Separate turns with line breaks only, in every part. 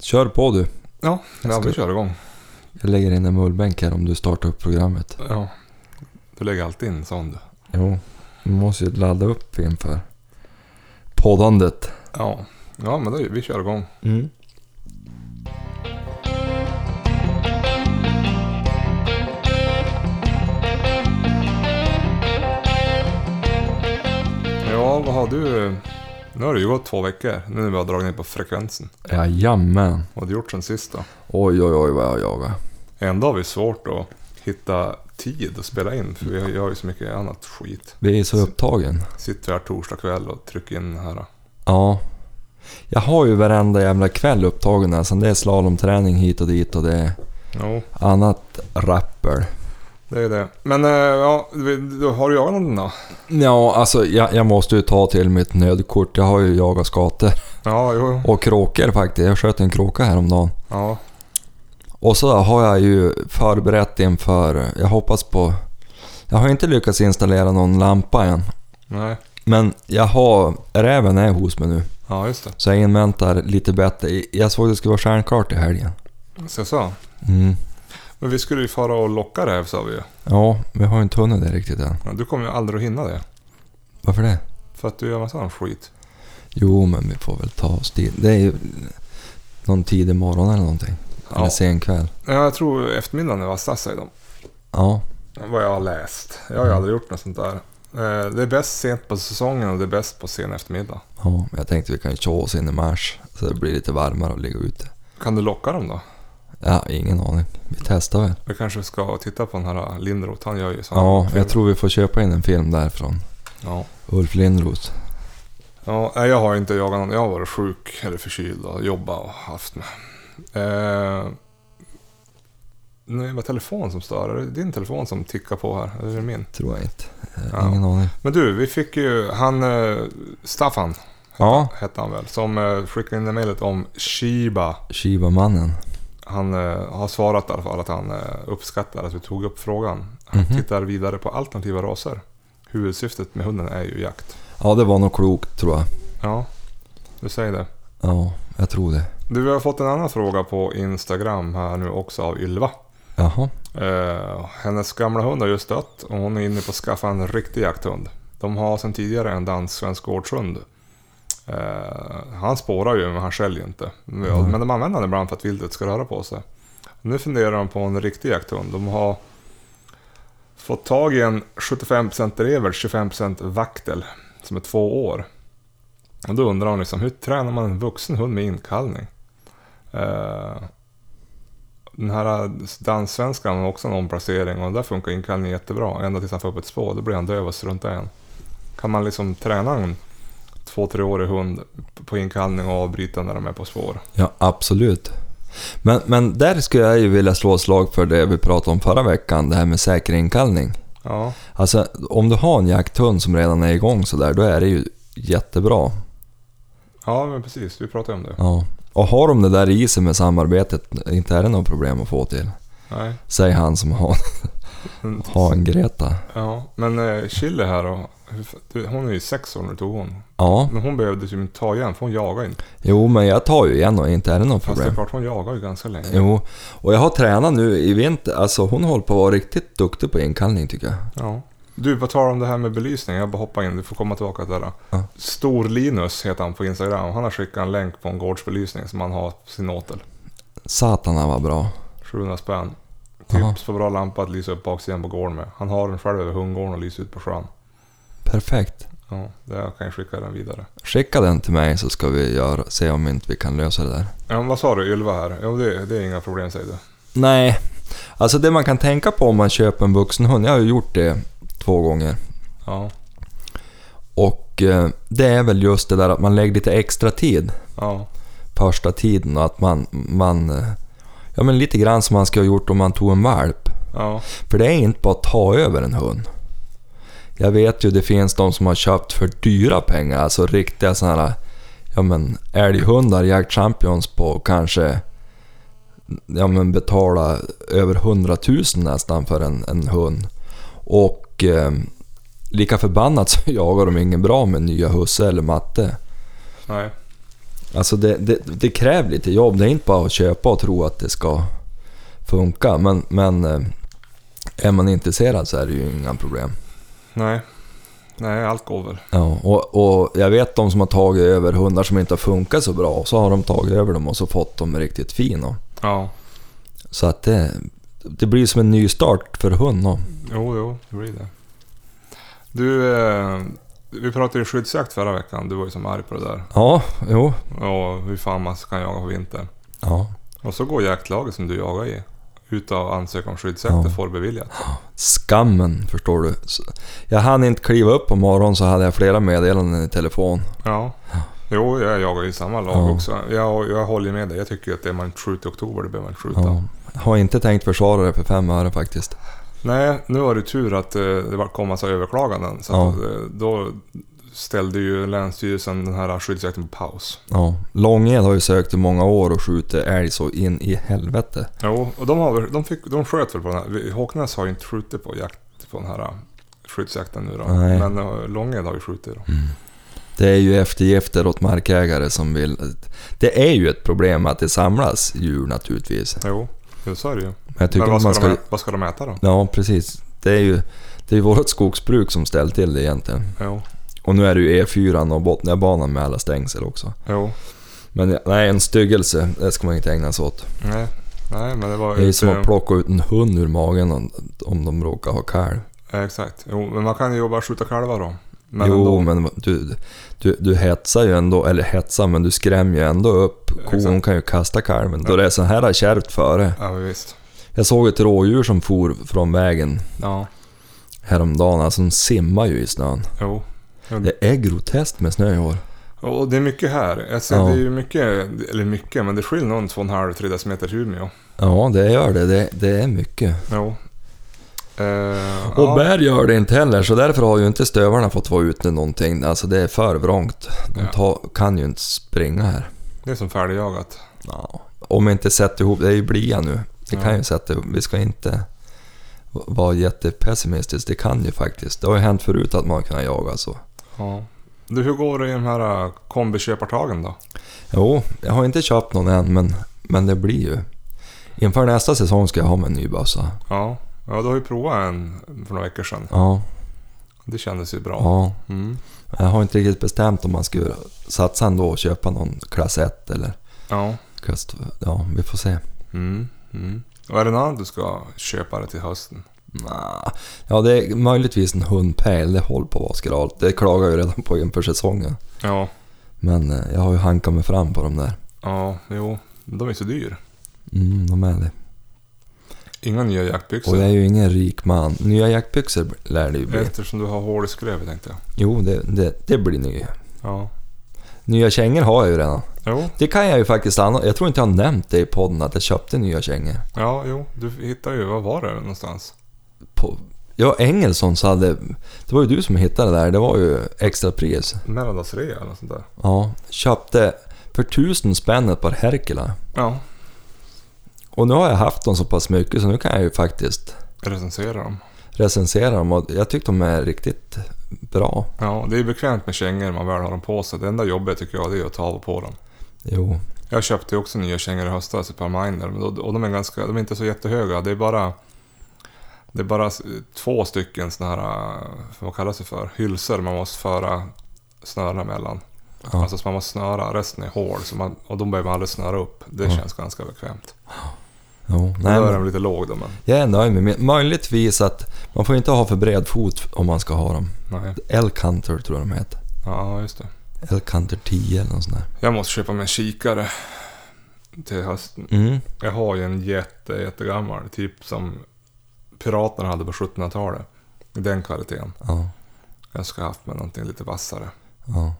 Kör på du.
Ja,
Jag
ja,
ska-
vi kör igång.
Jag lägger in en mullbänk här om du startar upp programmet.
Ja. Du lägger alltid in sån du.
Jo, vi måste ju ladda upp inför poddandet.
Ja. Ja, men då, vi kör igång.
Mm.
Ja, vad har du... Nu har det ju gått två veckor, nu när vi har dragit ner på frekvensen.
Jajamän.
Vad har du gjort sen sist då?
Oj, oj, oj vad jag jagar.
Ändå har vi svårt att hitta tid att spela in, för vi har- jag har ju så mycket annat skit.
Vi är så upptagen.
Sitter här torsdag kväll och trycker in den här.
Ja. Jag har ju varenda jävla kväll upptagen här. Sen det är slalomträning hit och dit och det är
Jo,
annat rappel.
det är det. Men eh, ja, vi- du- har du jagat någonting då?
Ja, alltså jag, jag måste ju ta till mitt nödkort. Jag har ju jagat skator.
Ja, jo, jo.
Och kråkor faktiskt. Jag sköt en kråka häromdagen.
Ja,
Och så har jag ju förberett inför, jag hoppas på... Jag har inte lyckats installera någon lampa än.
nej.
Men jag har, räven är hos mig nu.
Ja, just det.
Så jag inväntar lite bättre. Jag såg det skulle vara stjärnklart i helgen.
Så jag sa.
Mm.
Men vi skulle ju fara och locka räv sa vi ju.
Ja, vi har ju inte hunnit det riktigt än.
Ja, Du kommer ju aldrig att hinna det.
Varför det?
För att du gör massa annan skit.
Jo, men vi får väl ta oss dit. Det är ju någon tidig morgon eller någonting. Eller
Ja.
sen kväll.
Ja, Jag tror eftermiddagen är vassast säger de.
Ja,
Vad jag har läst. Jag
Mm.
har ju aldrig gjort något sånt där. Eh, Det är bäst sent på säsongen och det är bäst på sen eftermiddag.
ja, jag tänkte vi kan ju tjoa oss in i mars. Så det blir lite varmare att ligga ute.
Kan du locka dem då?
Ja, ingen aning. Vi testar väl.
Vi kanske ska titta på den här äh, Lindroth. Han gör ju sånt.
Ja, jag tror vi får köpa in en film därifrån.
Ja.
Ulf Lindroth.
ja. nej, Jag har ju inte jagat någon. Jag har varit sjuk eller förkyld och jobbat och haft med. Eh, nu är det bara telefon som stör. Är det din telefon som tickar på här? Eller är det min?
Tror jag inte. Eh,
Ja.
Ingen aning.
Men du, vi fick ju han... eh, Staffan.
Ja,
hette han väl, som eh, skickade in det mejlet om Shiba.
Shiba-mannen.
Han eh, har svarat i alla fall att han eh, uppskattar att vi tog upp frågan. Han
Mhm.
tittar vidare på alternativa raser. Huvudsyftet med hunden är ju jakt.
Ja, det var nog klokt tror jag.
Ja, du säger det.
Ja, jag tror det.
Du, vi har fått en annan fråga på Instagram här nu också av Ylva.
Jaha.
Eh, hennes gamla hund har just dött och hon är inne på att skaffa en riktig jakthund. De har sedan tidigare en dansk-svensk gårdshund. Eh, han spårar ju men han skäljer inte. Men-
Mm.
Men de använder den ibland för att viltet ska röra på sig. Nu funderar de på en riktig jakthund. De har fått tag i en 75% rever, 25% vaktel som är två år. Och då undrar hon liksom, hur tränar man en vuxen hund med inkallning? Eh, den här danssvenskan har också en omplacering och där funkar inkallningen jättebra. Ända tills han får upp ett spår, då blir han döv och struntar igen. Kan man liksom träna en två, treårig hund på inkallning och avbryta när de är på spår?
Ja, absolut. Men, men där skulle jag ju vilja slå ett slag för det vi pratade om förra veckan, det här med säker inkallning.
Ja,
Alltså, om du har en jakthund som redan är igång sådär, då är det ju jättebra.
ja men precis. Vi pratade om det.
Ja. Och har de det där i sig med samarbetet, inte är det något problem att få till.
Nej.
Säg han som har,
Mm.
har en Greta.
Ja, men eh, Chille här då. hur- du, Hon är ju sex år när du tog hon.
Ja,
Men hon behövde ju inte ta igen för hon jagar inte.
jo men jag tar ju igen och inte är det något
Fast det är
problem.
klart hon jagar ju ganska länge.
Jo, och jag har tränat nu i vinter. Alltså hon håller på att vara riktigt duktig på inkallning tycker jag.
Ja. Du, på tal om det här med belysning. Jag bara hoppar in. Du får komma tillbaka till det.
Ja.
där. Stor-Linus heter han på Instagram. Han har skickat en länk på en gårdsbelysning som han har på sin åtel.
Satan han var bra.
700 spänn.
Jaha.
Tips på bra lampa att lysa upp baksidan på gården med. Han har den själv över hundgården och lyser ut på sjön.
Perfekt.
Ja, det jag kan jag skicka den vidare.
Skicka den till mig så ska vi göra, se om inte vi kan lösa det där.
Ja, men vad sa du, Ylva här? Jo, det, det är inga problem säger du.
Nej, alltså det man kan tänka på om man köper en vuxen hund. Jag har ju gjort det två gånger.
Ja,
Och eh, det är väl just det där att man lägger lite extra tid
ja,
första tiden och att man, man eh, ja men lite grann som man skulle ha gjort om man tog en valp.
ja,
För det är inte bara att ta över en hund. Jag vet ju det finns de som har köpt för dyra pengar, alltså riktiga sådana här ja men älghundar, jaktchampions på kanske ja men betala över 100 000 nästan för en, en hund. Och eh, lika förbannat så jagar de ingen bra med nya husse eller matte.
nej.
Alltså det, det, det kräver lite jobb. Det är inte bara att köpa och tro att det ska funka. Men, men eh, är man intresserad så är det ju inga problem.
Nej. Nej, allt går väl.
Ja, och, och jag vet de som har tagit över hundar som inte har funkat så bra. Och så har de tagit över dem och så fått dem riktigt fina.
Ja.
Så att det, det blir som en ny start för hund. då.
Jo, jo, det blir det. Du, eh, vi pratade ju skyddsjakt förra veckan. Du var ju som arg på det där.
Ja, jo.
Och hur fan man kan jaga på vintern.
Ja.
Och så går jaktlaget som du jagar i ut och ansöker om skyddsjakt och
Ja.
får beviljat.
Skammen, förstår du. Så- Jag hann inte kliva upp på morgonen så hade jag flera meddelanden i telefon.
Ja. Jo, jag jagar ju i samma lag
Ja.
också. Jag, jag håller ju med dig. Jag tycker ju att det man inte skjuter i oktober, det behöver man inte skjuta.
Ja. Jag har inte tänkt försvara det för fem öre faktiskt.
Nej, nu var det tur att eh, det var- kom massa överklaganden. Så
Ja.
att, eh, då ställde ju Länsstyrelsen den här skyddsjakten på paus.
Ja. Långed har ju sökt i många år och skjutit älg så in i helvete.
Jo, och de, har, väl- de, fick, de sköt väl på den här. Vi- Håknäs har ju inte skjutit på, jakt, på den här eh, skyddsjakten nu då.
Nej. Mm.
Men eh, Långed har ju skjutit då.
Det är ju eftergifter åt markägare som vill... Det är ju ett problem att det samlas djur naturligtvis.
Jo, jo, så är det ju.
Men jag tycker inte
Men vad
man
ska,
ska...
De, ä- vad ska de äta då?
Ja, precis. Det är ju det är ju vårt skogsbruk som ställt till det egentligen.
Jo,
Och nu är det ju E4 och Botniabanan med alla stängsel också.
jo.
Men nej, en styggelse, det ska man inte ägna sig åt.
Nej, nej men det var
Det är ju som
inte-
att plocka ut en hund ur magen om, om de råkar ha kalv.
Ja, Exakt. Jo, men man kan ju bara skjuta kalvar då. Men
jo,
ändå.
men du, du, du hetsar ju ändå, eller hetsar, men du skrämmer ju ändå upp. Kon
Exakt.
kan ju kasta kalven då det är så här kärvt före.
Ja, visst.
Jag såg ett rådjur som for från vägen
Ja,
häromdagen, alltså de simmar ju i snön.
jo.
Det är groteskt med snö i år.
Och det är mycket här. Alltså,
Ja.
Det är ju mycket, eller mycket, men det skiljer nog en 2,5-3 decimeter till Umeå.
Ja, det gör det. Det, det är mycket.
Jo. Eh,
Och
ja.
bär gör det inte heller, så därför har ju inte stövarna fått vara ute någonting. Alltså det är för vrångt. De
Ja.
ta, kan ju inte springa här.
Det är som färdigjagat.
Ja. Om vi inte sätter ihop, det är ju blia nu. Det kan
Ja.
ju sätta ihop, vi ska inte vara jättepessimistisk. Det kan ju faktiskt. Det har ju hänt förut att man kan jaga så.
Ja. Du, hur går det i de här eh, kombiköpartagen då?
Jo, jag har inte köpt någon än, men, men det blir ju. Inför nästa säsong ska jag ha med en ny bössa.
Ja. ja, du har ju provat en för några veckor sedan.
Ja,
Det kändes ju bra.
ja.
Mm.
Jag har inte riktigt bestämt om man skulle satsa ändå och köpa någon klass 1 eller
Ja.
klass 2. Ja, vi får se.
Mm. Mm. Och är det något annat du ska köpa det till hösten?
Nja, Ja, det är möjligtvis en hundpäl. Det håller på att vara skralt. Det klagar jag ju redan på inför säsongen.
Ja.
Men eh, jag har ju hankat mig fram på de där.
Ja, jo. De är så dyr.
Mm, de är det.
Inga nya jaktbyxor.
Och jag är ju ingen rik man. Nya jaktbyxor lär det ju bli.
Eftersom du har hål i skrevet tänkte jag.
Jo, det, det, det blir nya.
Ja.
Nya kängor har jag ju redan.
Jo,
Det kan jag ju faktiskt anno- Jag tror inte jag har nämnt det i podden att jag köpte nya kängor.
ja, jo. Du hittar ju, vad var det någonstans?
På, ja, Engelsson så hade... Det var ju du som hittade det där. Det var ju extra pris.
Mellandagsrea eller något sånt där.
Ja, köpte för tusen spänn ett par Herkula.
Ja.
Och nu har jag haft dem så pass mycket så nu kan jag ju faktiskt
Recensera dem.
recensera dem och jag tycker de är riktigt bra.
Ja, det är bekvämt med kängor när man väl har dem på sig. Det enda jobbet tycker jag det är att ta av och på dem.
Jo,
Jag köpte ju också nya kängor i höstas, ett par Miner. men då- Och de är, ganska, de är inte så jättehöga. Det är bara... Det är bara s- två stycken såna här, eh, vad kallas det för, hylsor man måste föra snörena mellan.
Ja.
Alltså så man måste snöra, resten är hål så man, och de behöver man aldrig snöra upp. Det
Ja.
känns ganska bekvämt.
jo.
Nej,
Nej,
då är
men
den lite låg då men,
jag är nöjd med min. Möjligtvis att man får inte ha för bred fot om man ska ha dem.
nej.
Elkanter tror jag de heter.
Ja, just det.
Elkanter 10 eller något sånt där.
Jag måste köpa mig en kikare till hösten.
Mm.
Jag har ju en jätte, jättegammal, typ som piraterna hade på 1700-talet. Den kvaliteten.
Ja,
Jag ska ha haft med någonting lite vassare.
ja.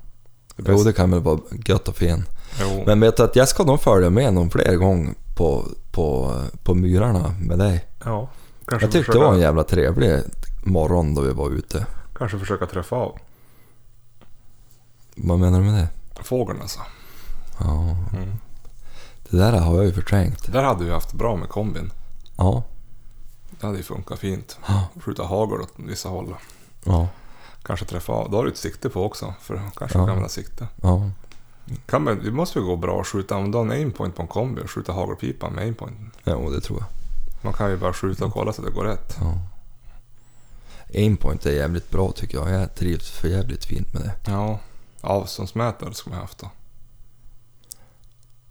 Det
Jo,
bästa.
det kan väl vara gött och fin.
Jo,
Men vet du att jag ska nog följa med någon fler gång på, på, på myrarna med dig.
ja. Kanske
Jag tyckte det
försöka,
var en jävla trevlig morgon då vi var ute.
Kanske försöka träffa av
Vad menar du med det?
fågeln alltså.
Ja,
Mm.
det där har jag ju förträngt.
Där hade vi haft bra med kombin.
Ja,
Det hade ju funkat fint.
Ja.
Skjuta hagel åt vissa håll.
ja,
Kanske träffa av. Då har du ett sikte på också. För kanske
Ja.
kan använda sikte.
ja.
Kan man, det måste ju gå bra att skjuta, om du har en aimpoint på en kombi, och skjuta hagelpipan med aimpointen.
Jo, det tror jag.
Man kan ju bara skjuta och kolla så att det går rätt.
Ja. Aimpoint är jävligt bra tycker jag. Jag trivs för jävligt fint med det.
Ja, avståndsmätare ska man haft då.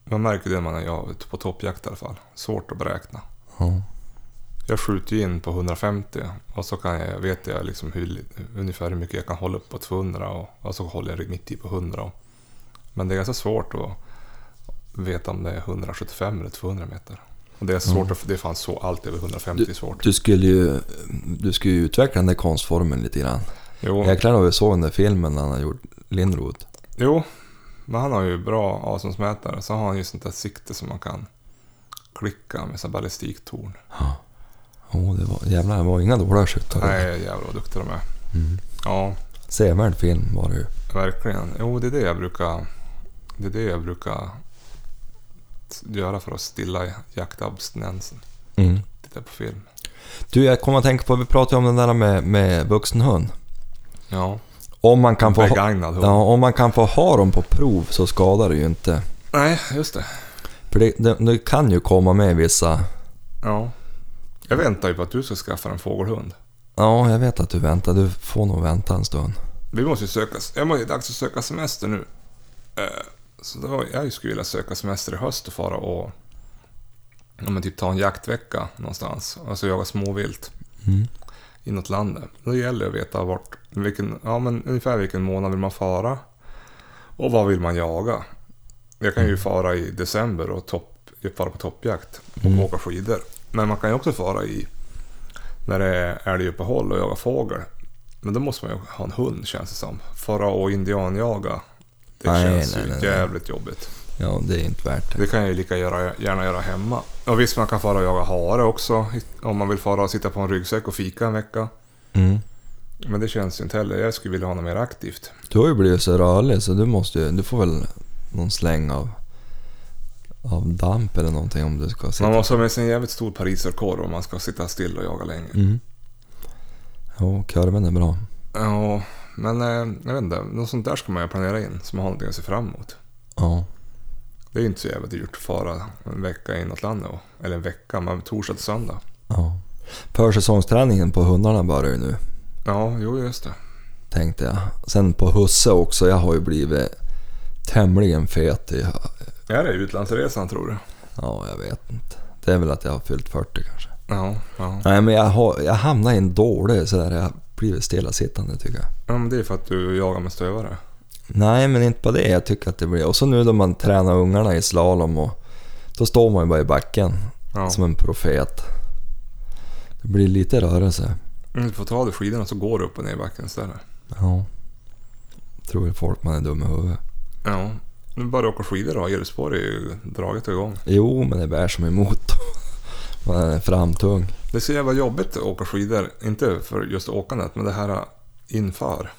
Man märker det när man är jag, ute på toppjakt i alla fall. Svårt att beräkna.
Ja.
Jag skjuter ju in på 150 och så kan jag, vet jag liksom hur, ungefär hur mycket jag kan hålla upp på 200 och, och så håller jag mitt i på 100. Och, men det är ganska svårt att veta om det är 175 eller 200 meter. Och det är så svårt, att, det är fan så allt över 150 är svårt.
Du skulle ju, du skulle ju utveckla den där konstformen lite grann.
Jo,
Jäklar vad vi såg den där filmen han har gjort, Lindroth.
jo, men han har ju bra avståndsmätare. Så har han ju sånt där sikte som man kan klicka med sån ballistiktorn.
Jo, det var, jävlar det var inga dåliga skyttar.
Nej, jävlar vad duktiga de är.
Mm.
Ja,
Sevärd film var det ju.
Verkligen. Jo, det är det jag brukar, det är det jag brukar göra för att stilla jaktabstinensen.
Mm.
Titta på film.
Du, jag kommer att tänka på, vi pratade om den där med, med vuxen hund.
Ja.
Om man, kan få ha,
Begagnad hund.
ja, om man kan få ha dem på prov så skadar det ju inte.
Nej, just det.
För det, det, det kan ju komma med vissa...
Ja. Jag väntar ju på att du ska skaffa en fågelhund.
Ja, jag vet att du väntar. Du får nog vänta en stund.
Vi måste ju söka... Jag måste, det är dags att söka semester nu. Eh, Så då, jag skulle vilja söka semester i höst och fara och... Ja, men typ ta en jaktvecka någonstans. Alltså jaga småvilt.
Mm.
inåt landet. Då gäller det att veta vart, vilken, ja, men ungefär vilken månad vill man fara och vad vill man jaga. Jag
Mm.
kan ju fara i december och topp, fara på toppjakt och
Mm.
åka skidor. Men man kan ju också fara i när det är älguppehåll och jaga fågel. Men då måste man ju ha en hund känns det som. Fara och indianjaga. Det
Nej,
känns
nej,
ju
nej, nej.
jävligt jobbigt.
Ja, det är inte värt det.
Det kan jag ju lika göra, gärna göra hemma. Och visst, man kan fara och jaga hare också. Om man vill fara och sitta på en ryggsäck och fika en vecka.
Mm.
Men det känns ju inte heller. Jag skulle vilja ha något mer aktivt.
Du har ju blivit så rörlig så du måste ju, du får väl någon släng av, av damp eller någonting om du ska sitta.
Man måste ha med sig en jävligt stor pariserkorv om man ska sitta still och jaga länge.
Mm. Jo, kurven är bra.
Ja, men eh, jag vet inte. Något sånt där ska man ju planera in så man har någonting att se fram emot.
Ja.
Det är ju inte så jävligt dyrt att fara en vecka inåt landet. och- Eller en vecka, men torsdag till söndag.
ja. Försäsongsträningen på hundarna börjar ju nu,
Ja, jo just det.
tänkte jag. Sen på husse också, jag har ju blivit tämligen fet i...
Är det utlandsresan tror du?
Ja, jag vet inte. Det är väl att jag har fyllt 40 kanske.
Ja, ja.
Nej, men jag, har, jag hamnar i en dålig sådär, jag har blivit stillasittande tycker jag.
ja men det är för att du jagar med stövare.
Nej, men inte på det. Jag tycker att det blir... Och så nu då man tränar ungarna i slalom och... Då står man ju bara i backen
Ja.
som en profet. Det blir lite rörelse.
Mm, Du får ta av dig skidorna så går du upp och ner i backen istället.
Ja. Tror ju folk man är dum i huvudet.
Ja. Nu bara åka skidor då. Elspår är ju draget igång.
Jo, men det bär som emot. Man är framtung.
Det är så jävla jobbigt att åka skidor. Inte för just åkandet, men det här inför.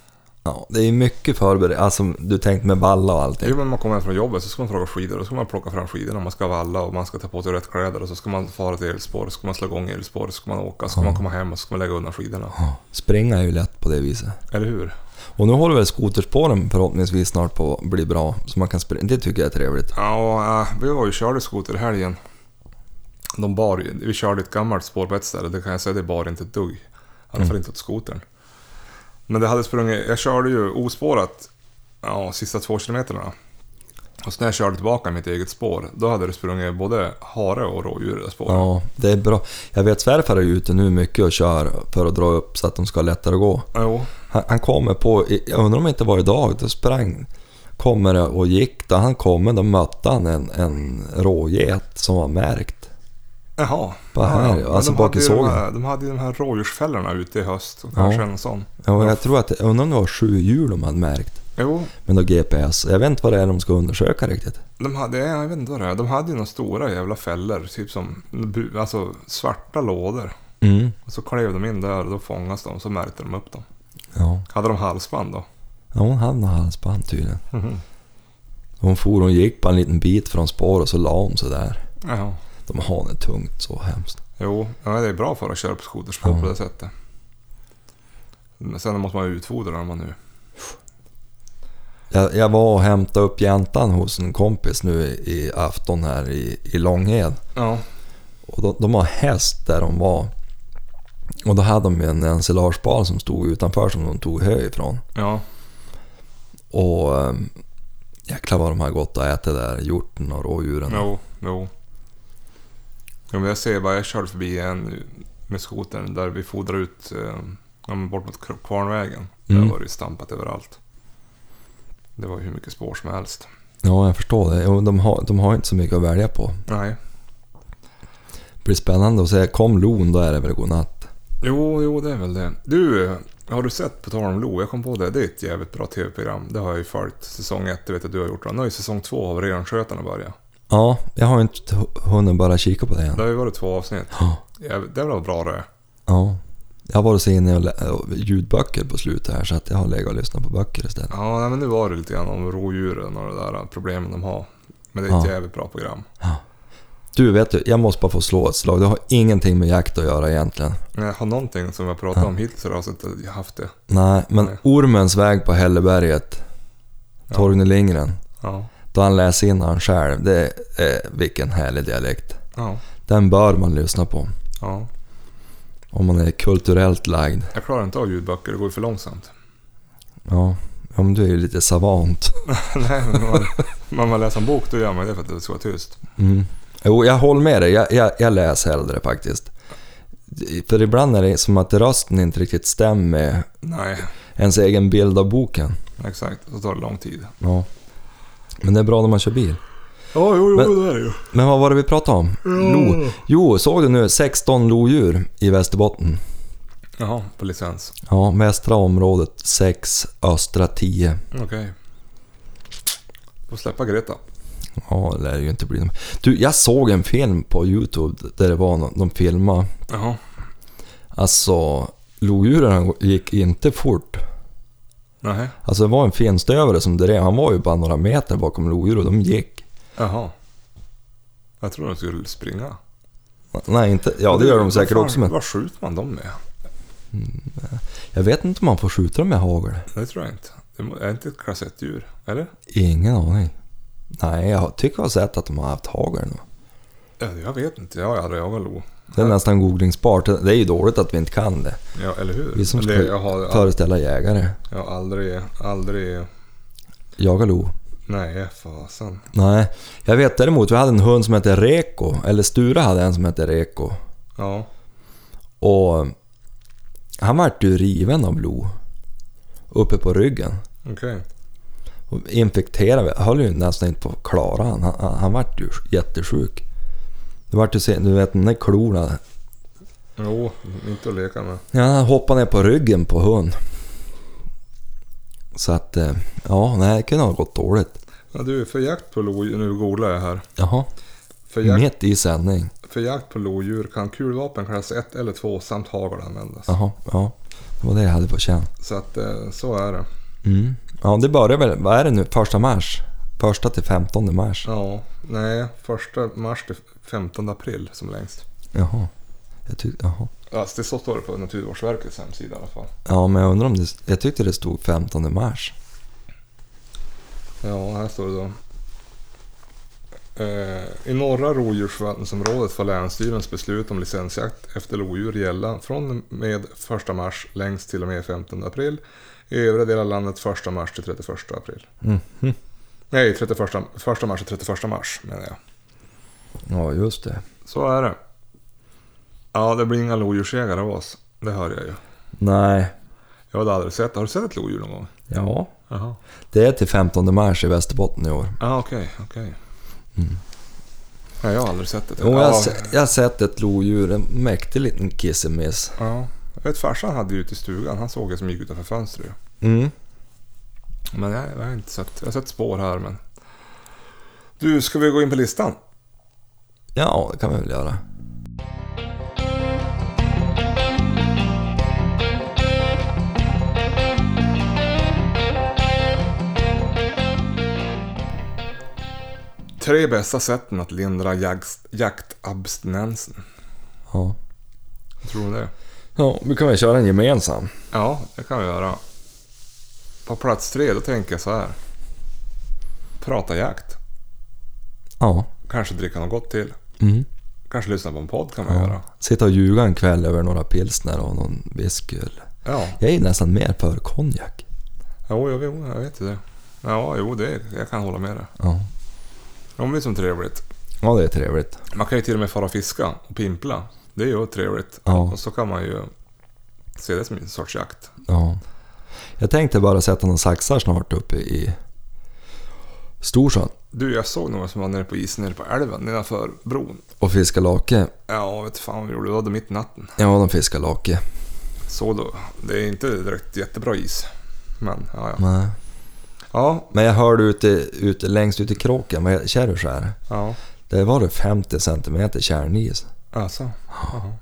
Ja, det är mycket förberedelse. Alltså, du tänkte med valla och allting.
Jo, men man kommer hem från jobbet så ska man fråga skidor. Då ska man plocka fram skidorna. Man ska valla och man ska ta på sig rätt kläder. Och så ska man fara till elspår. Så ska man slå igång elspår. Så ska man åka. Så ska man komma hem och så ska man lägga undan skidorna.
Ja, Springa är ju lätt på det viset.
Eller hur?
Och nu håller väl skoterspåren förhoppningsvis snart på att bli bra. Så man kan springa. Det tycker jag är trevligt.
Ja, och, äh, vi var ju och körde skoter i helgen. De bar ju- Vi körde ett gammalt spår på ett ställe. Det kan jag säga, det bar inte ett dugg. I alla
Mm.
fall inte åt skotern. Men det hade sprungit... Jag körde ju ospårat ja, sista två kilometerna. Och så när jag körde tillbaka mitt eget spår, då hade det sprungit både hare och rådjur i det spåret.
Ja, det är bra. Jag vet svärfar är ute nu mycket och kör för att dra upp så att de ska ha lättare att gå.
Jo,
Han, han kommer på, jag undrar om det inte var idag, då sprang, kommer det och gick. Då han kommer då mötte han en, en råget som var märkt.
jaha.
Vad
Ja,
här,
ja.
ja.
Men
Alltså
de hade
bak i
ju de
sågen.
här- De hade ju de här rådjursfällorna ute i höst. och
Ja.
Kanske en sån.
Ja, jag tror att, jag undrar om det var sju hjul de hade märkt.
Jo,
Men då GPS. Jag vet inte vad det är de ska undersöka riktigt.
De hade, jag vet inte vad det är, de hade ju några stora jävla fällor, typ som bu- alltså, svarta lådor.
Mm.
Och så klev de in där och då fångas de, så märkte de upp dem.
Ja.
Hade de halsband då?
ja, hon hade något halsband tydligen. Hon for, hon gick på en liten bit från spår och så la hon sig där.
Ja.
De har det tungt så hemskt.
Jo, ja, det är bra för att köra på skoterspår
Ja.
på det sättet. Men sen måste man ju utfodra dem man nu.
Jag, jag var och hämtade upp jäntan hos en kompis nu i, i afton här i, i Långhed.
Ja.
Och de, de har häst där de var. Och då hade de ju en ensilagebal som stod utanför som de tog hö ifrån.
Ja.
Och eh, jäklar vad de har gått och ätit där, hjorten och rådjuren.
Jo, jo. Jo, men jag ser bara, jag körde förbi en med skotern där vi fodrar ut eh, ja, men bort mot Kr- Kvarnvägen.
Mm.
Där var det ju stampat överallt. Det var ju hur mycket spår som helst.
Ja, jag förstår det. Jo, De har, de har inte så mycket att välja på.
Nej.
Det blir spännande att se. Kom Lon, då är det väl godnatt.
Jo, jo, det är väl det. Du, har du sett På tal om Lo? Jag kom på det. Det är ett jävligt bra tv-program. Det har jag ju följt. Säsong ett, det vet jag du har gjort. Nu är säsong två av Renskötarna börjat.
Ja, jag har inte hunnit bara kika på det än.
Det har ju varit två avsnitt.
Ja.
Jävligt, det var bra det.
Ja. Jag har varit så inne och lä- och ljudböcker på slutet här så att jag har legat och lyssnat på böcker istället.
Ja, nej, men nu var det lite grann om rådjuren och det där problemen de har. Men det är ett
Ja.
jävligt bra program.
Du, vet du, jag måste bara få slå ett slag. Det har ingenting med jakt att göra egentligen.
Men Jag har någonting som jag pratat om hittills idag så att jag haft det.
Nej, men
Nej.
Ormens väg på Hälleberget, Torgny Lindgren,
Ja.
då han läser in han själv, det är, vilken härlig dialekt.
Ja.
Den bör man lyssna på
ja.
om man är kulturellt lagd.
Jag klarar inte av ljudböcker, det går ju för långsamt.
Ja, ja men du är ju lite savant.
nej, men man, man, man läser en bok då gör man det för att det ska vara tyst.
Mm. Jo, jag håller med dig. Jag, jag, jag läser hellre faktiskt. För ibland är det som att rösten inte riktigt stämmer med
Nej,
ens egen bild av boken.
exakt. Så tar det lång tid.
Ja. Men det är bra när man kör bil.
Ja, jo, jo,
Men-
det är det ju.
Men vad var det vi pratade om?
Mm.
Lo. Jo, såg du nu? 16 lodjur i Västerbotten.
Jaha, på licens.
Ja, västra området 6, östra 10.
Okej. Får släppa Greta.
Ja, det lär ju inte bli... Du, jag såg en film på Youtube där det var någon, de filmade.
Jaha.
Alltså, lodjuren gick inte fort.
Nej.
Alltså det var en finstövare som drev, han var ju bara några meter bakom lodjur och de gick.
Jaha. Jag tror de skulle springa.
Nej inte, ja det gör de säkert
Vad
också
fan-
men
Vad skjuter man dem med?
jag vet inte om man får skjuta dem med hagel.
Det tror jag inte. Det må- är inte ett klass 1-djur, eller?
Ingen aning. Nej jag tycker jag har sett att de har haft hagel nu.
Ja, Jag vet inte, jag har aldrig jagat lo.
Det är nästan googlingsbart, det är ju dåligt att vi inte kan det.
Ja, eller hur?
Vi som
Men
ska
det, jag, har,
föreställa jägare,
jag har aldrig, aldrig...
jaga lo.
Nej, fasen.
Nej, jag vet däremot, vi hade en hund som hette Reko, eller Sture hade en som hette Reko.
Ja,
Och han vart ju riven av lo. Uppe på ryggen.
okej.
Och infekterade, vi- höll ju nästan inte på att klara han. Han, han, han vart ju jättesjuk. Det vart ju sen, du vet den där klorna.
Jo, inte att leka med.
Ja, han hoppade ner på ryggen på hund. Så att, eh, ja, nej, det kunde ha gått dåligt.
Ja, du, för jakt på lo... Nu googlar jag här.
Jaha,
För jakt,
mitt i sändning.
för jakt på lodjur kan kulvapen klass 1 eller 2 samt hagel användas.
Jaha, ja. Det var det jag hade på känn.
Så att eh, så är det.
Mm. Ja, det börjar väl, vad är det nu, första mars? Första till 15 mars?
Ja, nej. Första mars till 15 april som längst.
Jaha. Jag tyck, jaha.
Alltså, det så står det på Naturvårdsverkets hemsida i alla fall.
Ja, men jag undrar om det, jag tyckte det stod 15 mars.
Ja, här står det då. Eh, I norra rovdjursförvaltningsområdet får länsstyrelsens beslut om licensjakt efter lodjur gälla från och med 1 mars längst till och med 15 april. I övriga delar av landet 1 mars till 31 april.
Mhm.
Nej, 31, 1 mars till 31 mars menar jag.
Ja, just det.
Så är det. Ja, det blir inga lodjursjägare av oss. Det hör jag ju.
Nej.
Jag hade aldrig sett. Har du sett ett lodjur någon gång?
Ja.
Jaha.
Det är till 15 mars i Västerbotten i år.
Ja, okej, okej. Nej, Mm. jag har aldrig sett det.
Jo, jag, har
Ja,
se- jag har sett ett lodjur, en mäktig liten kissemiss.
Ja. Jag vet farsan hade ju ute i stugan. Han såg det som gick utanför fönstret.
Mm.
Men jag, jag har inte sett. Jag har sett spår här men. Du, ska vi gå in på listan?
Ja, det kan vi väl göra.
Tre bästa sätten att lindra jakt, jaktabstinensen.
Ja.
Tror du det?
Ja, vi kan väl köra en gemensam.
Ja, det kan vi göra. På plats tre, då tänker jag så här. prata jakt.
Ja.
Kanske dricka något gott till.
Mm.
Kanske lyssna på en podd kan man
ja.
göra.
Sitta och ljuga en kväll över några pilsner och någon whisky. eller-
Ja,
Jag är nästan mer för konjak.
jo, jo, jo, jag vet ju det. Ja, jo, det, jag kan hålla med dig.
Ja.
Ja, men det är som trevligt.
ja, det är trevligt.
Man kan ju till och med fara och fiska och pimpla. Det är ju trevligt.
Ja.
Och så kan man ju se det som en sorts jakt.
ja. Jag tänkte bara sätta några saxar snart uppe i Storsjön
Du, jag såg några som var nere på isen nere på älven nedanför bron.
och fiska lake.
Ja, vet fan vad vi gjorde. Vi hade mitt i natten.
Ja, de fiskar lake.
Så då. Det är inte direkt jättebra is. Men, ja, ja.
Nej.
Ja,
Men jag hörde ute, ute längst ut i kråken, vad Kärrskär,
ja.
där var det 50 cm kärnis.
Alltså. Jaha.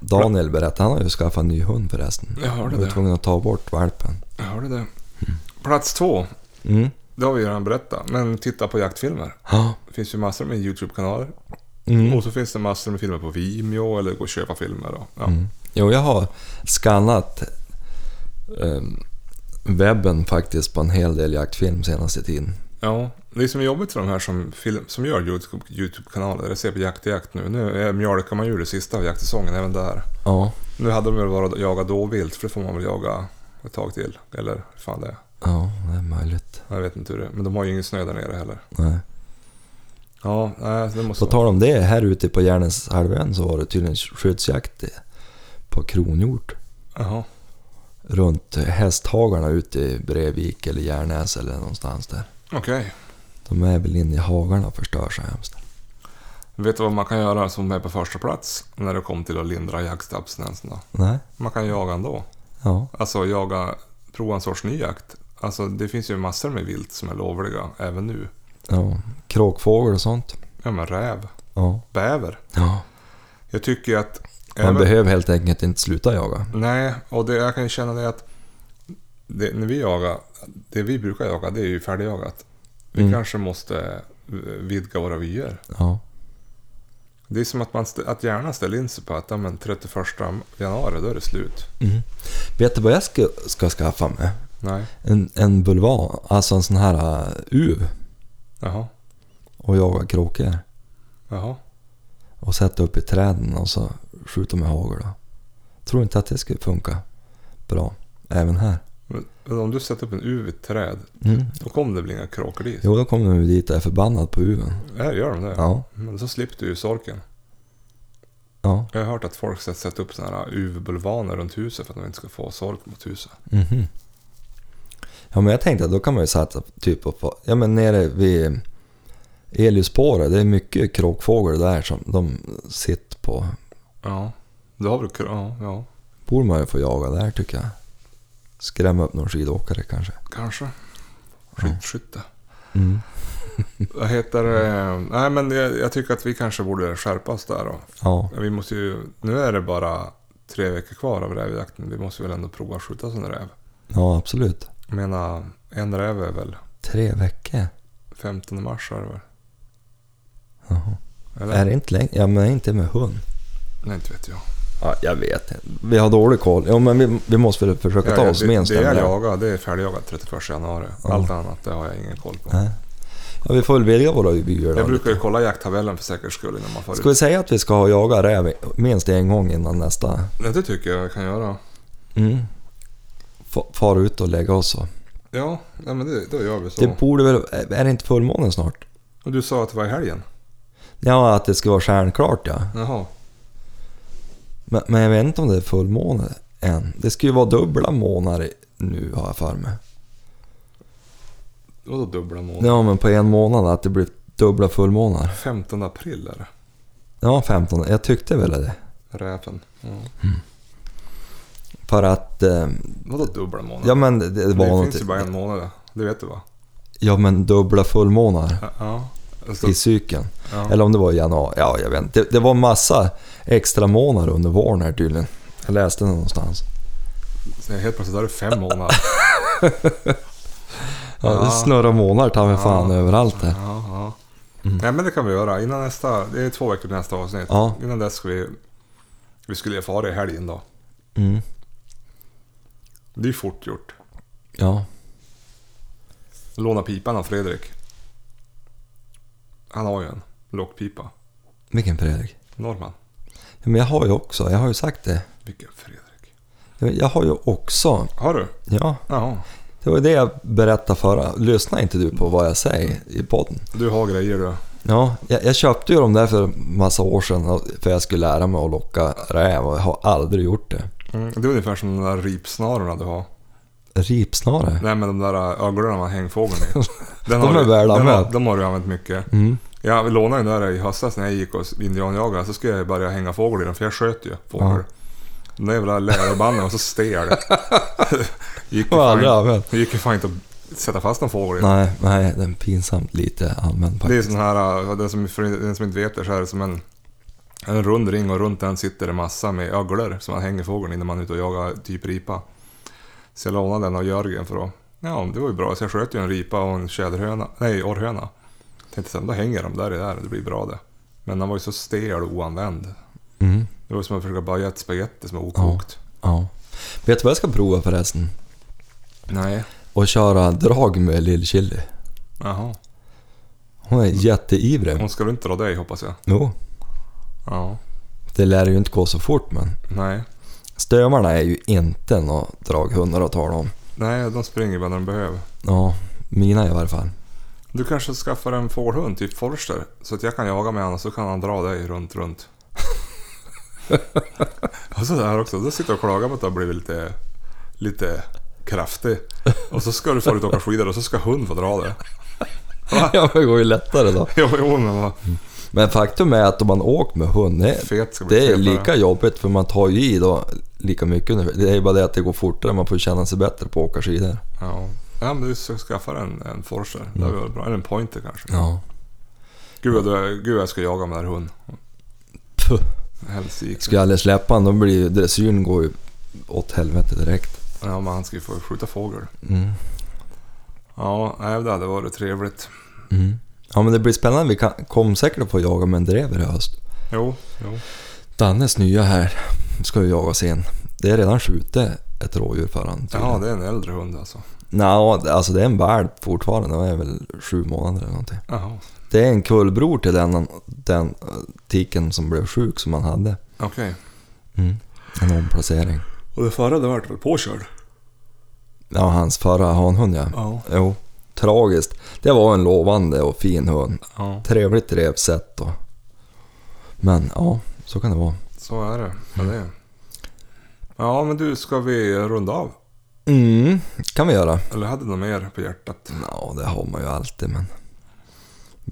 Daniel berättade, han har ju skaffat en ny hund förresten.
Jag hörde
var
det.
tvungen att ta bort valpen.
Jag hörde det. Plats två.
Mm.
Det har vi redan berättat. Men titta på jaktfilmer.
Ja.
Det finns ju massor med YouTube-kanaler.
Mm.
Och så finns det massor med filmer på Vimeo eller gå och köpa filmer. Och, ja.
Jo, jag har skannat ehm, webben faktiskt på en hel del jaktfilm senaste tiden.
ja, det är som är jobbigt för de här som, film, som gör YouTube- YouTube-kanaler. Eller ser på Jakt i Jakt nu. Nu är- mjölkar man ju det sista av jaktsäsongen även där.
Ja.
Nu hade de väl bara jaga dåvilt för det får man väl jaga ett tag till. Eller hur fan det är.
Ja, det är möjligt.
Jag vet inte hur det är. Men de har ju ingen snö där nere heller.
Nej.
Ja, nej, det måste
På tal om det, här ute på Järnens halvön så var det tydligen skyddsjakt på kronhjort.
Jaha.
runt hästhagarna ute i Brevik eller Järnäs eller någonstans där.
Okej.
De är väl inne i hagarna och förstör så hemskt.
Vet du vad man kan göra som är på första plats när det kommer till att lindra jaktstabsnäsarna?
Nej,
Man kan jaga ändå.
ja,
Alltså jaga, prova en sorts ny jakt. Alltså det finns ju massor med vilt som är lovliga även nu.
ja. Kråkfågel och sånt.
Ja men räv,
Ja,
bäver.
ja.
Jag tycker ju att...
Man
även-
behöver helt enkelt inte sluta jaga.
Nej, och det, jag kan ju känna det att det, när vi jagar, det vi brukar jaga det är ju färdigjagat. Vi
Mm.
kanske måste eh, vidga våra vyer.
Ja,
Det är som att, man stä, att hjärnan ställer in sig på att ja, men 31 januari, då är det slut.
mm. Vet du vad jag ska, ska skaffa mig?
Nej,
En, en bulvan, alltså en sån här uh, uv
jaha,
och jaga kråkor.
jaha.
Och sätta upp i träden och så skjuta med hagel. då. Tror inte att det skulle funka bra även här.
Men, men om du sätter upp en uv i ett träd,
Mm.
då kommer det bli inga kråkor dit.
Jo, då kommer de ju dit och är förbannad på uven.
Här gör de det.
Ja,
Men så slipper du ju sorken.
ja.
Jag har hört att folk sätter sätter upp sådana här UV-bulvaner runt huset för att de inte ska få sork mot huset.
Mhm. Ja men jag tänkte att då kan man ju satsa typ på, ja men nere vid Eliusspåret, det är mycket kråkfågel där som de sitter på.
Ja. Då har vi kr- ja, ja,
Borde man ju få jaga där tycker jag. Skrämma upp någon skidåkare kanske.
kanske. Skyttskytte.
Mm.
Vad heter det? Nej, men jag, jag tycker att vi kanske borde skärpas där då.
Ja,
Vi måste ju... Nu är det bara tre veckor kvar av rävjakten. Vi måste väl ändå prova att skjuta sån räv.
ja absolut.
Jag menar, en räv är väl
Tre veckor?
15 mars är det väl?
Jaha.
Eller?
Är det inte länge? Ja men inte med hund.
Nej, inte vet jag.
Ja, jag vet inte. Vi har dålig koll. Ja men vi, vi måste väl försöka ta oss
det,
med en
det
stund
jag
där.
jagar, det är färdigjagat 31 januari.
Ja.
Allt annat, det har jag ingen koll på.
Nej. Ja, vi får väl välja våra vyer då.
Jag brukar ju kolla jakttabellen för säkerhets skull innan man far
Ska
ut.
vi säga att vi ska ha jaga räv minst en gång innan nästa?
Nej, Det tycker jag jag kan göra.
Mm. Fa- Fara ut och lägga oss så.
Ja, nej, men det, då gör vi så.
Det borde väl... Är det inte fullmåne snart?
Och du sa att det var i helgen?
Ja, att det ska vara stjärnklart ja.
Jaha.
Men, men jag vet inte om det är fullmåne än. Det ska ju vara dubbla månader i- nu har jag för mig.
Vadå dubbla månader?
Ja, men på en månad att det blir dubbla fullmånar.
15 april är det.
Ja, 15. Jag tyckte väl det.
Räven. Ja.
För att... Eh,
Vadå dubbla månader?
ja, men det, det
det
var
finns ju bara en
något...
månad. Det vet du va?
Ja, men dubbla fullmånar
Ja. ja. Alltså,
i cykeln.
ja.
Eller om det var i januari, ja jag vet inte. Det, det var massa extra månader under våren här tydligen. Jag läste det någonstans.
Så Helt plötsligt är det fem månader.
Ja,
Ja.
Det snurrar månader ta mig fan
Ja.
överallt här.
Ja, ja. Nej men det kan vi göra. Innan nästa, det är två veckor till nästa avsnitt.
Mm. Ja.
Innan dess ska vi... Vi skulle ju fara i helgen då.
Mm.
Det är ju fort gjort.
Ja.
Låna pipan av Fredrik. Han har ju en lockpipa.
Vilken Fredrik?
Norrman.
Ja, Men jag har ju också, jag har ju sagt det.
Vilken Fredrik.
Jag- Jag har ju också,
Har du?
ja.
Jaha.
Det var ju det jag berättade förra. Lyssnar inte du på vad jag säger i podden?
Du har grejer du.
Ja, jag, jag köpte ju dem där för massa år sedan för jag skulle lära mig att locka räv och jag har aldrig gjort det.
Mm. Det är ungefär som de där ripsnarorna du har.
Ripsnare?
Nej men de där äh, ögonen man hängfågeln i. Den
De
har
är
du-
väl
den har-
använt.
De har du använt mycket.
Mm.
Jag lånade den där i höstas när jag gick och indianjagade. Så skulle jag börja hänga fågel i den för jag sköt ju fågel.
Ja.
Den där jävla läderbanden var så stel. gick ju
Jag har aldrig
fan,
använt.
gick ju fan inte att sätta fast någon fågel i.
Nej, nej, den är pinsamt lite använd
Det
faktiskt.
är sån här, äh, den som, för den som inte vet det, så är det som en, en rund ring och runt den sitter det massa med öglor som man hänger fågeln i när man är ute och jagar typ ripa. Så jag lånade den av Jörgen för att, ja det var ju bra, så jag sköt ju en ripa och en tjäderhöna, nej orrhöna. Tänkte sen, då hänger de där i där, det blir bra det. Men den var ju så stel och oanvänd.
Mm.
Det var ju som att försöka baja ett spagetti som är okokt.
Ja. Vet du vad jag ska prova förresten?
Nej.
Och köra drag med Lill-Chili.
Jaha.
Hon är jätteivrig.
Hon ska väl inte dra dig hoppas jag?
Jo,
Ja.
det lär ju inte gå så fort men.
Nej.
Stövarna är ju inte några draghundar att tala om.
Nej, de springer bara när de behöver.
Ja, mina i varje fall.
Du kanske skaffar en fårhund, typ Forster, så att jag kan jaga med honom och så kan han dra dig runt, runt. och så där också, då sitter jag och klagar på att du har blivit lite, lite kraftig. Och så ska du få ut och åka skidor och så ska hund få dra dig.
Ja, men det går ju lättare då.
Jo, jo men vad
Men faktum är att om man åker med hund, det,
fet ska bli
det är
fetare.
lika jobbigt för man tar ju i då lika mycket ungefär. Det är ju bara det att det går fortare, man får känna sig bättre på att åka skidor.
Ja. ja, men du ska skaffa en, en Forster. Det hade varit bra. Eller en pointer kanske.
Mm. Ja.
Gud, vad du, gud vad jag ska jaga med den här hunden.
Puh.
Helsike.
Ska jag aldrig släppa honom, då blir ju dressyren går ju åt helvete direkt.
Ja, men han ska ju få skjuta fågel.
Mm.
Ja, nej, det hade varit trevligt.
Mm. Ja men det blir spännande, vi kan, kom säkert att få jaga med en drever i höst.
Jo, jo.
Dannes nya här ska ju jagas in. Det är redan skjutet ett rådjur för han
Jaha, det är en äldre hund alltså.
Nå, alltså det är en valp fortfarande, den är väl sju månader eller någonting.
Jaha,
Det är en kullbror till den, den eh, tiken som blev sjuk som man hade.
okej.
En omplacering.
Och det förra det vart väl påkörd?
Ja, hans förra hanhund ja.
Ja.
Jo, tragiskt. Det var en lovande och fin hund.
ja.
Trevligt revsätt då. Men ja, så kan det vara.
Så är det. Ja, det är. ja, men du, ska vi runda av?
Mm, kan vi göra.
Eller hade du något mer på hjärtat?
Ja, det har man ju alltid men...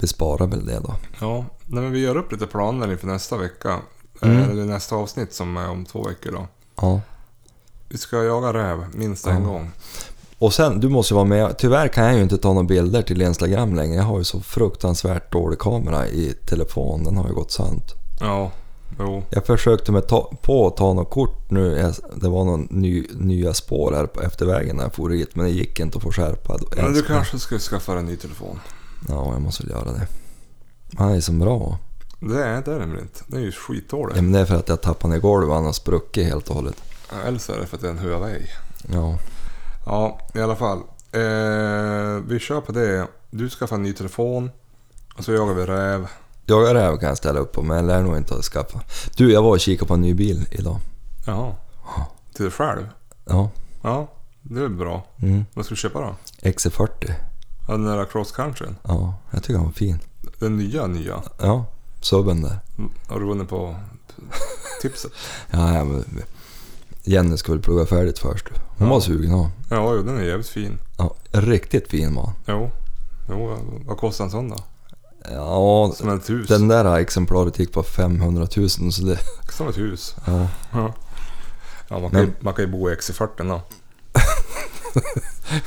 Vi sparar väl det då.
Ja, nej, men vi gör upp lite planer inför nästa vecka. Eh, Eller nästa avsnitt som är om två veckor då.
Ja.
Vi ska jaga räv minst en gång.
Och sen, du måste ju vara med. Tyvärr kan jag ju inte ta några bilder till Instagram längre. Jag har ju så fruktansvärt dålig kamera i telefon. Den har ju gått sönt.
Ja, jo.
Jag försökte med ta, på att ta något kort nu. Jag- Det var någon ny, nya spår här på eftervägen när jag for hit. Men det gick inte att få skärpa.
Men du kanske ska skaffa en ny telefon?
Ja, jag måste väl göra det. Han är så bra.
Det är det är den väl inte. Den är ju skitdålig.
Ja, men det är för att jag tappade ner golvet och han har spruckit helt och hållet.
Eller så är det för att det är en Huawei.
Ja.
Ja, i alla fall. Eh, vi kör på det. Du skaffar en ny telefon. Och så jagar vi räv.
Jag är räv kan jag ställa upp på men jag lär nog inte att skaffa. Du, jag var och kikade på en ny bil idag.
Jaha. Till dig själv?
Ja.
Ja, det är bra.
Mm. E
Vad ska du köpa då?
XC40.
Ja, Den där cross countryn?
Ja, jag tycker han var fin.
Den nya, nya?
Ja, subben där.
Mm, Har du vunnit på tipset?
Ja, ja, men Jenny ska väl plugga färdigt först. Hon var
Ja.
sugen av.
Ja, jo, den är jävligt fin.
Ja, riktigt fin man.
Jo. jo, vad kostar en sån då?
Ja,
Som ett hus.
den där exemplaret gick på 500 000 så det...
Som ett hus.
Ja.
Ja, ja man, kan ju,
Men-
man kan ju bo i XC40 då.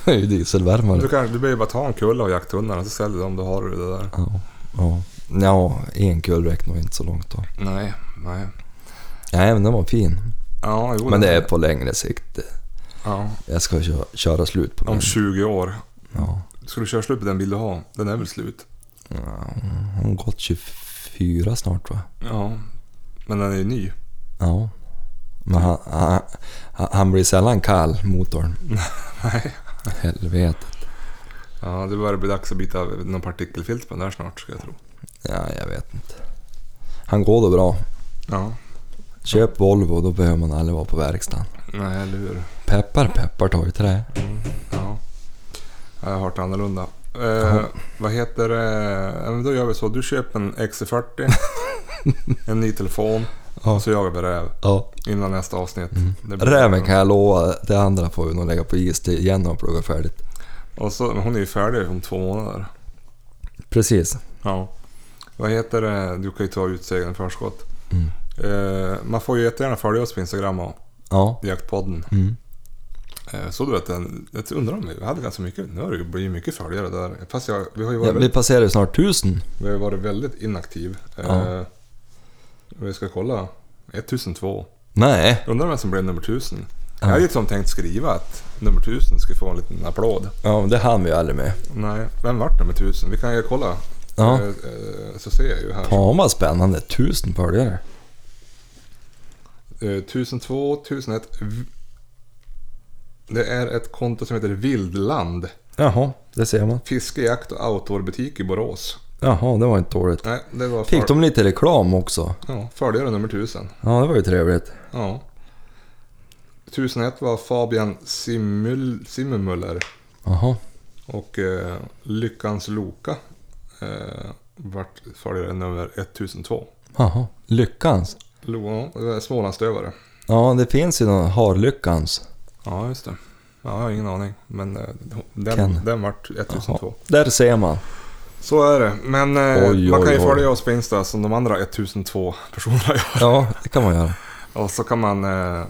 Det är ju dieselvärmare.
Du, kan, du behöver bara ta en kulla av jakthundarna så säljer du dem. Då har du det där.
Ja, ja. ja, en kul räcker nog inte så långt då.
Nej, nej.
Nej, men den var fin.
Ja, jo,
Men det är
den-
på längre sikt.
Ja.
Jag ska köra, köra slut på
Om
min.
20 år.
Ja.
Ska du köra slut på den bil du har? Den är väl slut?
Hon har gått 24 snart va?
Ja. Men den är ju ny.
Ja. Men han, han, han blir sällan kall, motorn.
Nej.
Helvetet.
Ja, det börjar bli dags att byta någon partikelfilt på den där snart ska jag tro.
Ja, jag vet inte. Han går då bra.
Ja,
Köp Volvo, då behöver man aldrig vara på verkstaden.
nej eller hur.
Peppar, peppar tar ju trä.
Ja. Jag har hört annorlunda. Eh, Vad heter det? Ja, men då gör vi så. Du köper en XC40, en ny telefon
Ja.
och så jagar vi räv
Ja.
innan nästa avsnitt. Det blir-
Räven kan jag lova, det andra får vi nog lägga på is till igen och plugga färdigt.
Och så, men hon är ju färdig om två månader.
Precis.
Ja. Vad heter det? Du kan ju ta ut segern i förskott.
Mm.
Eh, man får ju jättegärna följa oss på Instagram och
Ja.
Jaktpodden.
Mm.
Eh, så du att den, jag undrar om vi vi hade ganska mycket, nu har det ju blivit mycket följare där. Fast jag, vi har ju varit
ja
väldigt-
vi passerar ju snart tusen.
Vi har ju varit väldigt inaktiv.
Ja.
Eh, vi ska kolla. 1002.
Nej.
Undrar vem som blev nummer 1000.
Ja.
Jag hade ju som tänkt skriva att nummer 1000 skulle få en liten applåd.
Ja, men det hann vi ju aldrig med.
Nej, vem vart nummer 1000? Vi kan ju kolla.
Ja.
Eh, eh, så ser jag ju här.
Fan vad spännande, tusen följare.
Eh, 1002, 1001. V- Det är ett konto som heter Vildland.
Jaha, det ser man.
Fiske, jakt och outdoorbutik i Borås.
Jaha, det var inte dåligt.
Nej, det var
Fick de lite reklam också?
ja, följare nummer 1000.
Ja, det var ju trevligt.
Ja. 1001 var Fabian Simmul, Simmermuller
Jaha.
och eh, Lyckans Loka eh, vart följare nummer 1002.
Jaha. Lyckans.
Lo, det var Smålandsdövare.
Ja, det finns ju någon Harlyckans.
Ja, just det. Ja, jag har ingen aning, men eh, den,
Ken.
den vart 1002.
Jaha. Där ser man.
Så är det, men eh,
Oj,
man kan
oj,
ju
oj.
följa oss på Insta som de andra 1002 personerna gör.
Ja, det kan man göra.
Och så kan man eh,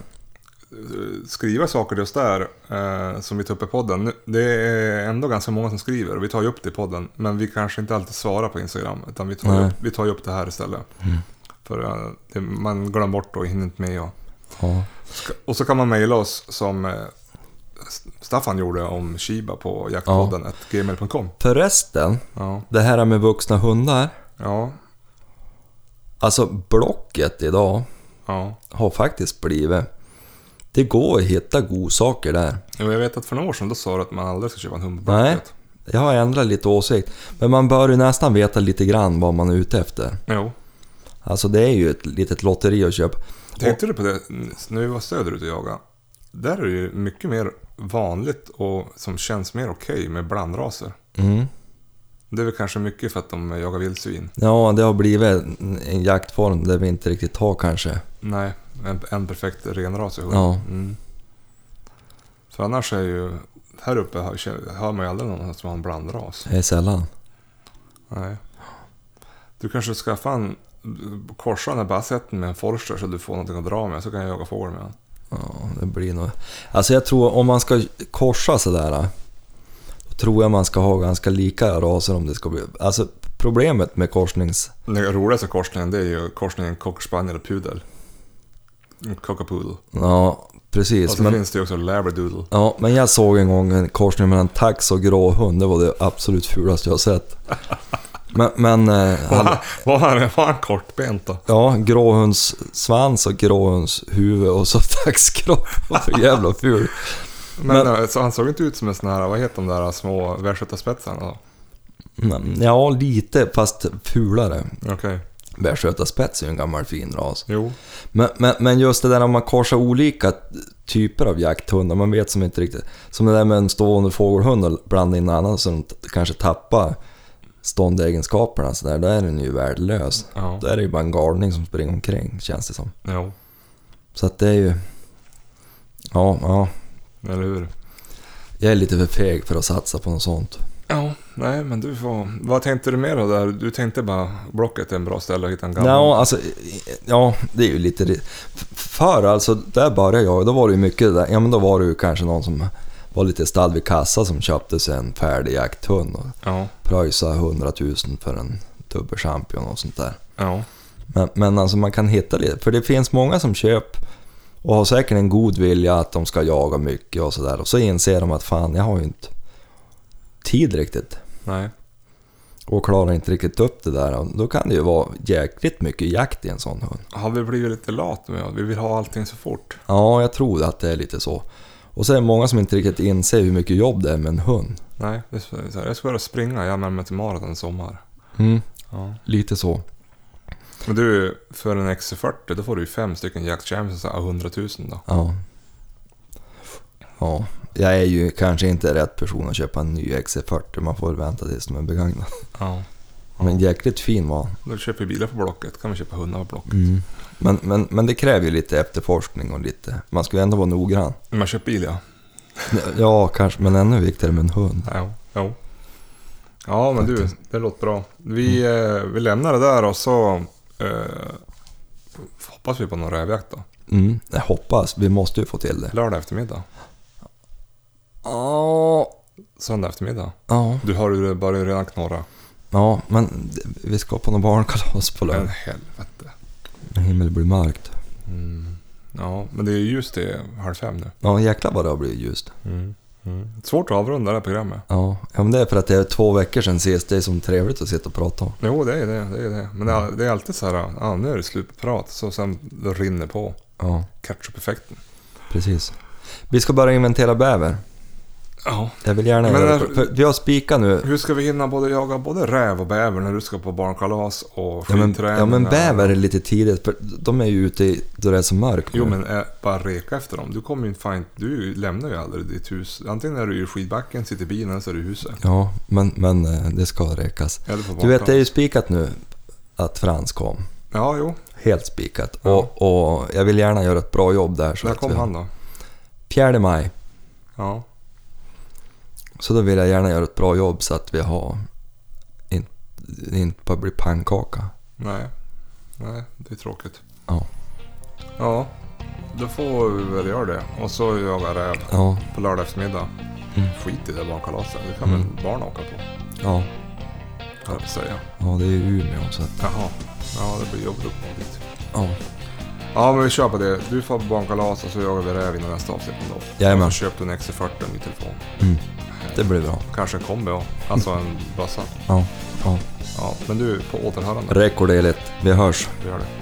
skriva saker just där eh, som vi tar upp i podden. Nu- Det är ändå ganska många som skriver och vi tar ju upp det i podden. Men vi kanske inte alltid svarar på Instagram utan vi tar, ju
Nej. Mm.
upp, vi tar ju upp det här istället. För eh, det, man glömmer bort och hinner inte med. Och,
Ja.
och så kan man mejla oss som eh, Staffan gjorde om Shiba på jaktpodden at gmail.com.
Förresten,
Ja,
det här med vuxna hundar.
ja,
Alltså Blocket idag
ja.
har faktiskt blivit... Det går att hitta godsaker där.
Jo, Jag vet att för några år sedan då sa du att man aldrig ska köpa en hund på
Nej.
Blocket.
Jag har ändrat lite åsikt. Men man bör ju nästan veta lite grann vad man är ute efter.
Jo.
Alltså det är ju ett litet lotteri att köpa.
Tänkte du på det när vi var söderut och jagade? Där är det ju mycket mer vanligt och som känns mer okej med blandraser.
Mm.
Det är väl kanske mycket för att de jagar vildsvin.
Ja, det har blivit en- en jaktform där vi inte riktigt har kanske.
Nej, en, en perfekt renrasig hund.
Ja.
Mm. För annars är ju... Här uppe hör, hör man ju aldrig någon som har en blandras.
Det är sällan.
Nej. Du kanske skaffar en... Korsa den här bassetten med en forster så du får någonting att dra med. Så kan jag jaga fågel med den.
Ja, det blir nog... Alltså jag tror om man ska korsa sådär. Då tror jag man ska ha ganska lika raser om det ska bli... Alltså problemet med korsnings...
Den roligaste korsningen det är ju korsningen cockspaniel och pudel. Cockapoodle.
Ja,
Och
precis.
så
Men,
finns Alltså, det ju också labradoodle.
ja, men jag såg en gång en korsning mellan tax och gråhund. Det var det absolut fulaste jag har sett. Men... men eh, hade,
Var han, var han kortbent då?
ja, gråhunds svans och gråhunds huvud och så taxkropp. Det var så jävla ful.
Men,
Men-
eh, så han såg inte ut som en sån här, vad heter de där små västgötaspetsarna då?
Mm, Ja, lite fast fulare.
Okej.
Västgötaspets är ju en gammal fin ras.
Jo.
Men, men, men just det där om man korsar olika typer av jakthundar, man vet som inte riktigt. Som det där med en stående fågelhund och blanda in en annan som t- kanske tappar ståndegenskaperna så där, då är den ju värdelös.
Ja.
Då är det ju bara en galning som springer omkring känns det som.
Jo.
Så att det är ju... Ja, ja.
Eller hur?
Jag är lite för feg för att satsa på något sånt.
Ja. Nej, men du får... Vad tänkte du mer då där? Du tänkte bara Blocket är en bra ställe att hitta en gammal...
Ja, alltså, ja, det är ju lite... ri- f- Förr alltså, där började jag, då var det ju mycket det där, ja men då var det ju kanske någon som var lite stad vid kassa som köpte sig en färdig jakthund och
Ja.
pröjsade 100 000 för en dubbelchampion och sånt där.
Ja.
Men, men alltså man kan hitta lite, för det finns många som köper och har säkert en god vilja att de ska jaga mycket och sådär och så inser de att fan, jag har ju inte tid riktigt
Nej.
och klarar inte riktigt upp det där. Och Då kan det ju vara jäkligt mycket jakt i en sån hund.
Har vi blivit lite lat nu? Vi vill ha allting så fort.
Ja, jag tror att det är lite så. Och så är det många som inte riktigt inser hur mycket jobb det är med en hund.
Nej, det är så här, jag ska börja springa. Jag anmäler mig till maraton i sommar.
Mm,
Ja.
lite så.
Men du, för en XC40 då får du ju fem stycken Jack Champions av 100 000 då.
Ja. Ja, jag är ju kanske inte rätt person att köpa en ny XC40. Man får vänta tills de är begagnade.
Ja.
Men jäkligt fin var han.
Då köper vi bilar på Blocket, kan vi köpa hundar på Blocket.
Mm. men, men, men det kräver ju lite efterforskning och lite... Man ska ju ändå vara noggrann.
Man köper bil ja.
Ja, kanske, men ännu viktigare med en hund.
Ja, ja. ja men du, det låter bra. Vi, eh, vi lämnar det där och så eh, hoppas vi på någon rävjakt då.
Mm, jag hoppas. Vi måste ju få till det.
Lördag eftermiddag,
Ja,
söndag eftermiddag.
ja,
Du har ju börjat redan knorra.
ja men vi ska på någon barnkalas på
Men
lördag.
helvete.
Himmel blir mörkt.
Mm. Ja, men det är ju just det halv fem nu.
Ja, jäklar vad det har blivit ljust.
Mm. Svårt att avrunda det här programmet.
Ja, ja, men det är för att det är två veckor sedan sist. Det är som trevligt att sitta och prata om.
Jo, det är det. det, är det. Men det är, det är alltid så här, ah, nu är det slut på prat. Så sen det rinner på.
Ja,
Ketchup-effekten.
precis. Vi ska börja inventera bäver.
Ja.
Jag vill gärna
Men
göra
när-
det. För vi har spikat nu.
Hur ska vi hinna både jaga både räv och bäver när du ska på barnkalas och
Ja men,
skidträning?
ja, men bäver är lite tidigt. För de är ju ute i- då det är så mörkt.
Jo
nu.
men eh, bara reka efter dem. Du kommer ju inte fan Du lämnar ju aldrig ditt hus. Antingen är du i skidbacken, sitter i bilen eller så är du i huset.
Ja, men, men eh, det ska räkas.
Eller
Du
på
vet, det är
barnkalas.
ju spikat nu att Frans kom.
Ja, jo.
Helt spikat.
Ja.
Och, och jag vill gärna göra ett bra jobb där. Så
När
att
kom
vi-
han då?
4 maj.
Ja.
Så då vill jag gärna göra ett bra jobb så att vi har... Inte inte bara blir pannkaka.
Nej. Nej, det är tråkigt.
Ja.
Ja. Då får vi väl göra det. Och så jagar räv
Ja,
på lördag eftermiddag.
Mm.
Skit i det barnkalaset. Det kan
Mm.
väl barn åka på. höll
ja,
jag på att säga.
ja det är ju Umeå så att...
Jaha. Ja, det blir jobbigt att komma dit.
Ja.
Ja, men vi kör på det. Du får på barnkalas och så jagar vi räv innan nästa avsnitt ändå.
Jajamän.
Och så köper du en XC40 och en ny telefon.
Mm. Det blir bra.
Kanske en kombi också. Alltså en bössa.
Ja, ja.
Ja, men du, på återhörande.
Rekorderligt. Vi hörs.
Vi gör det.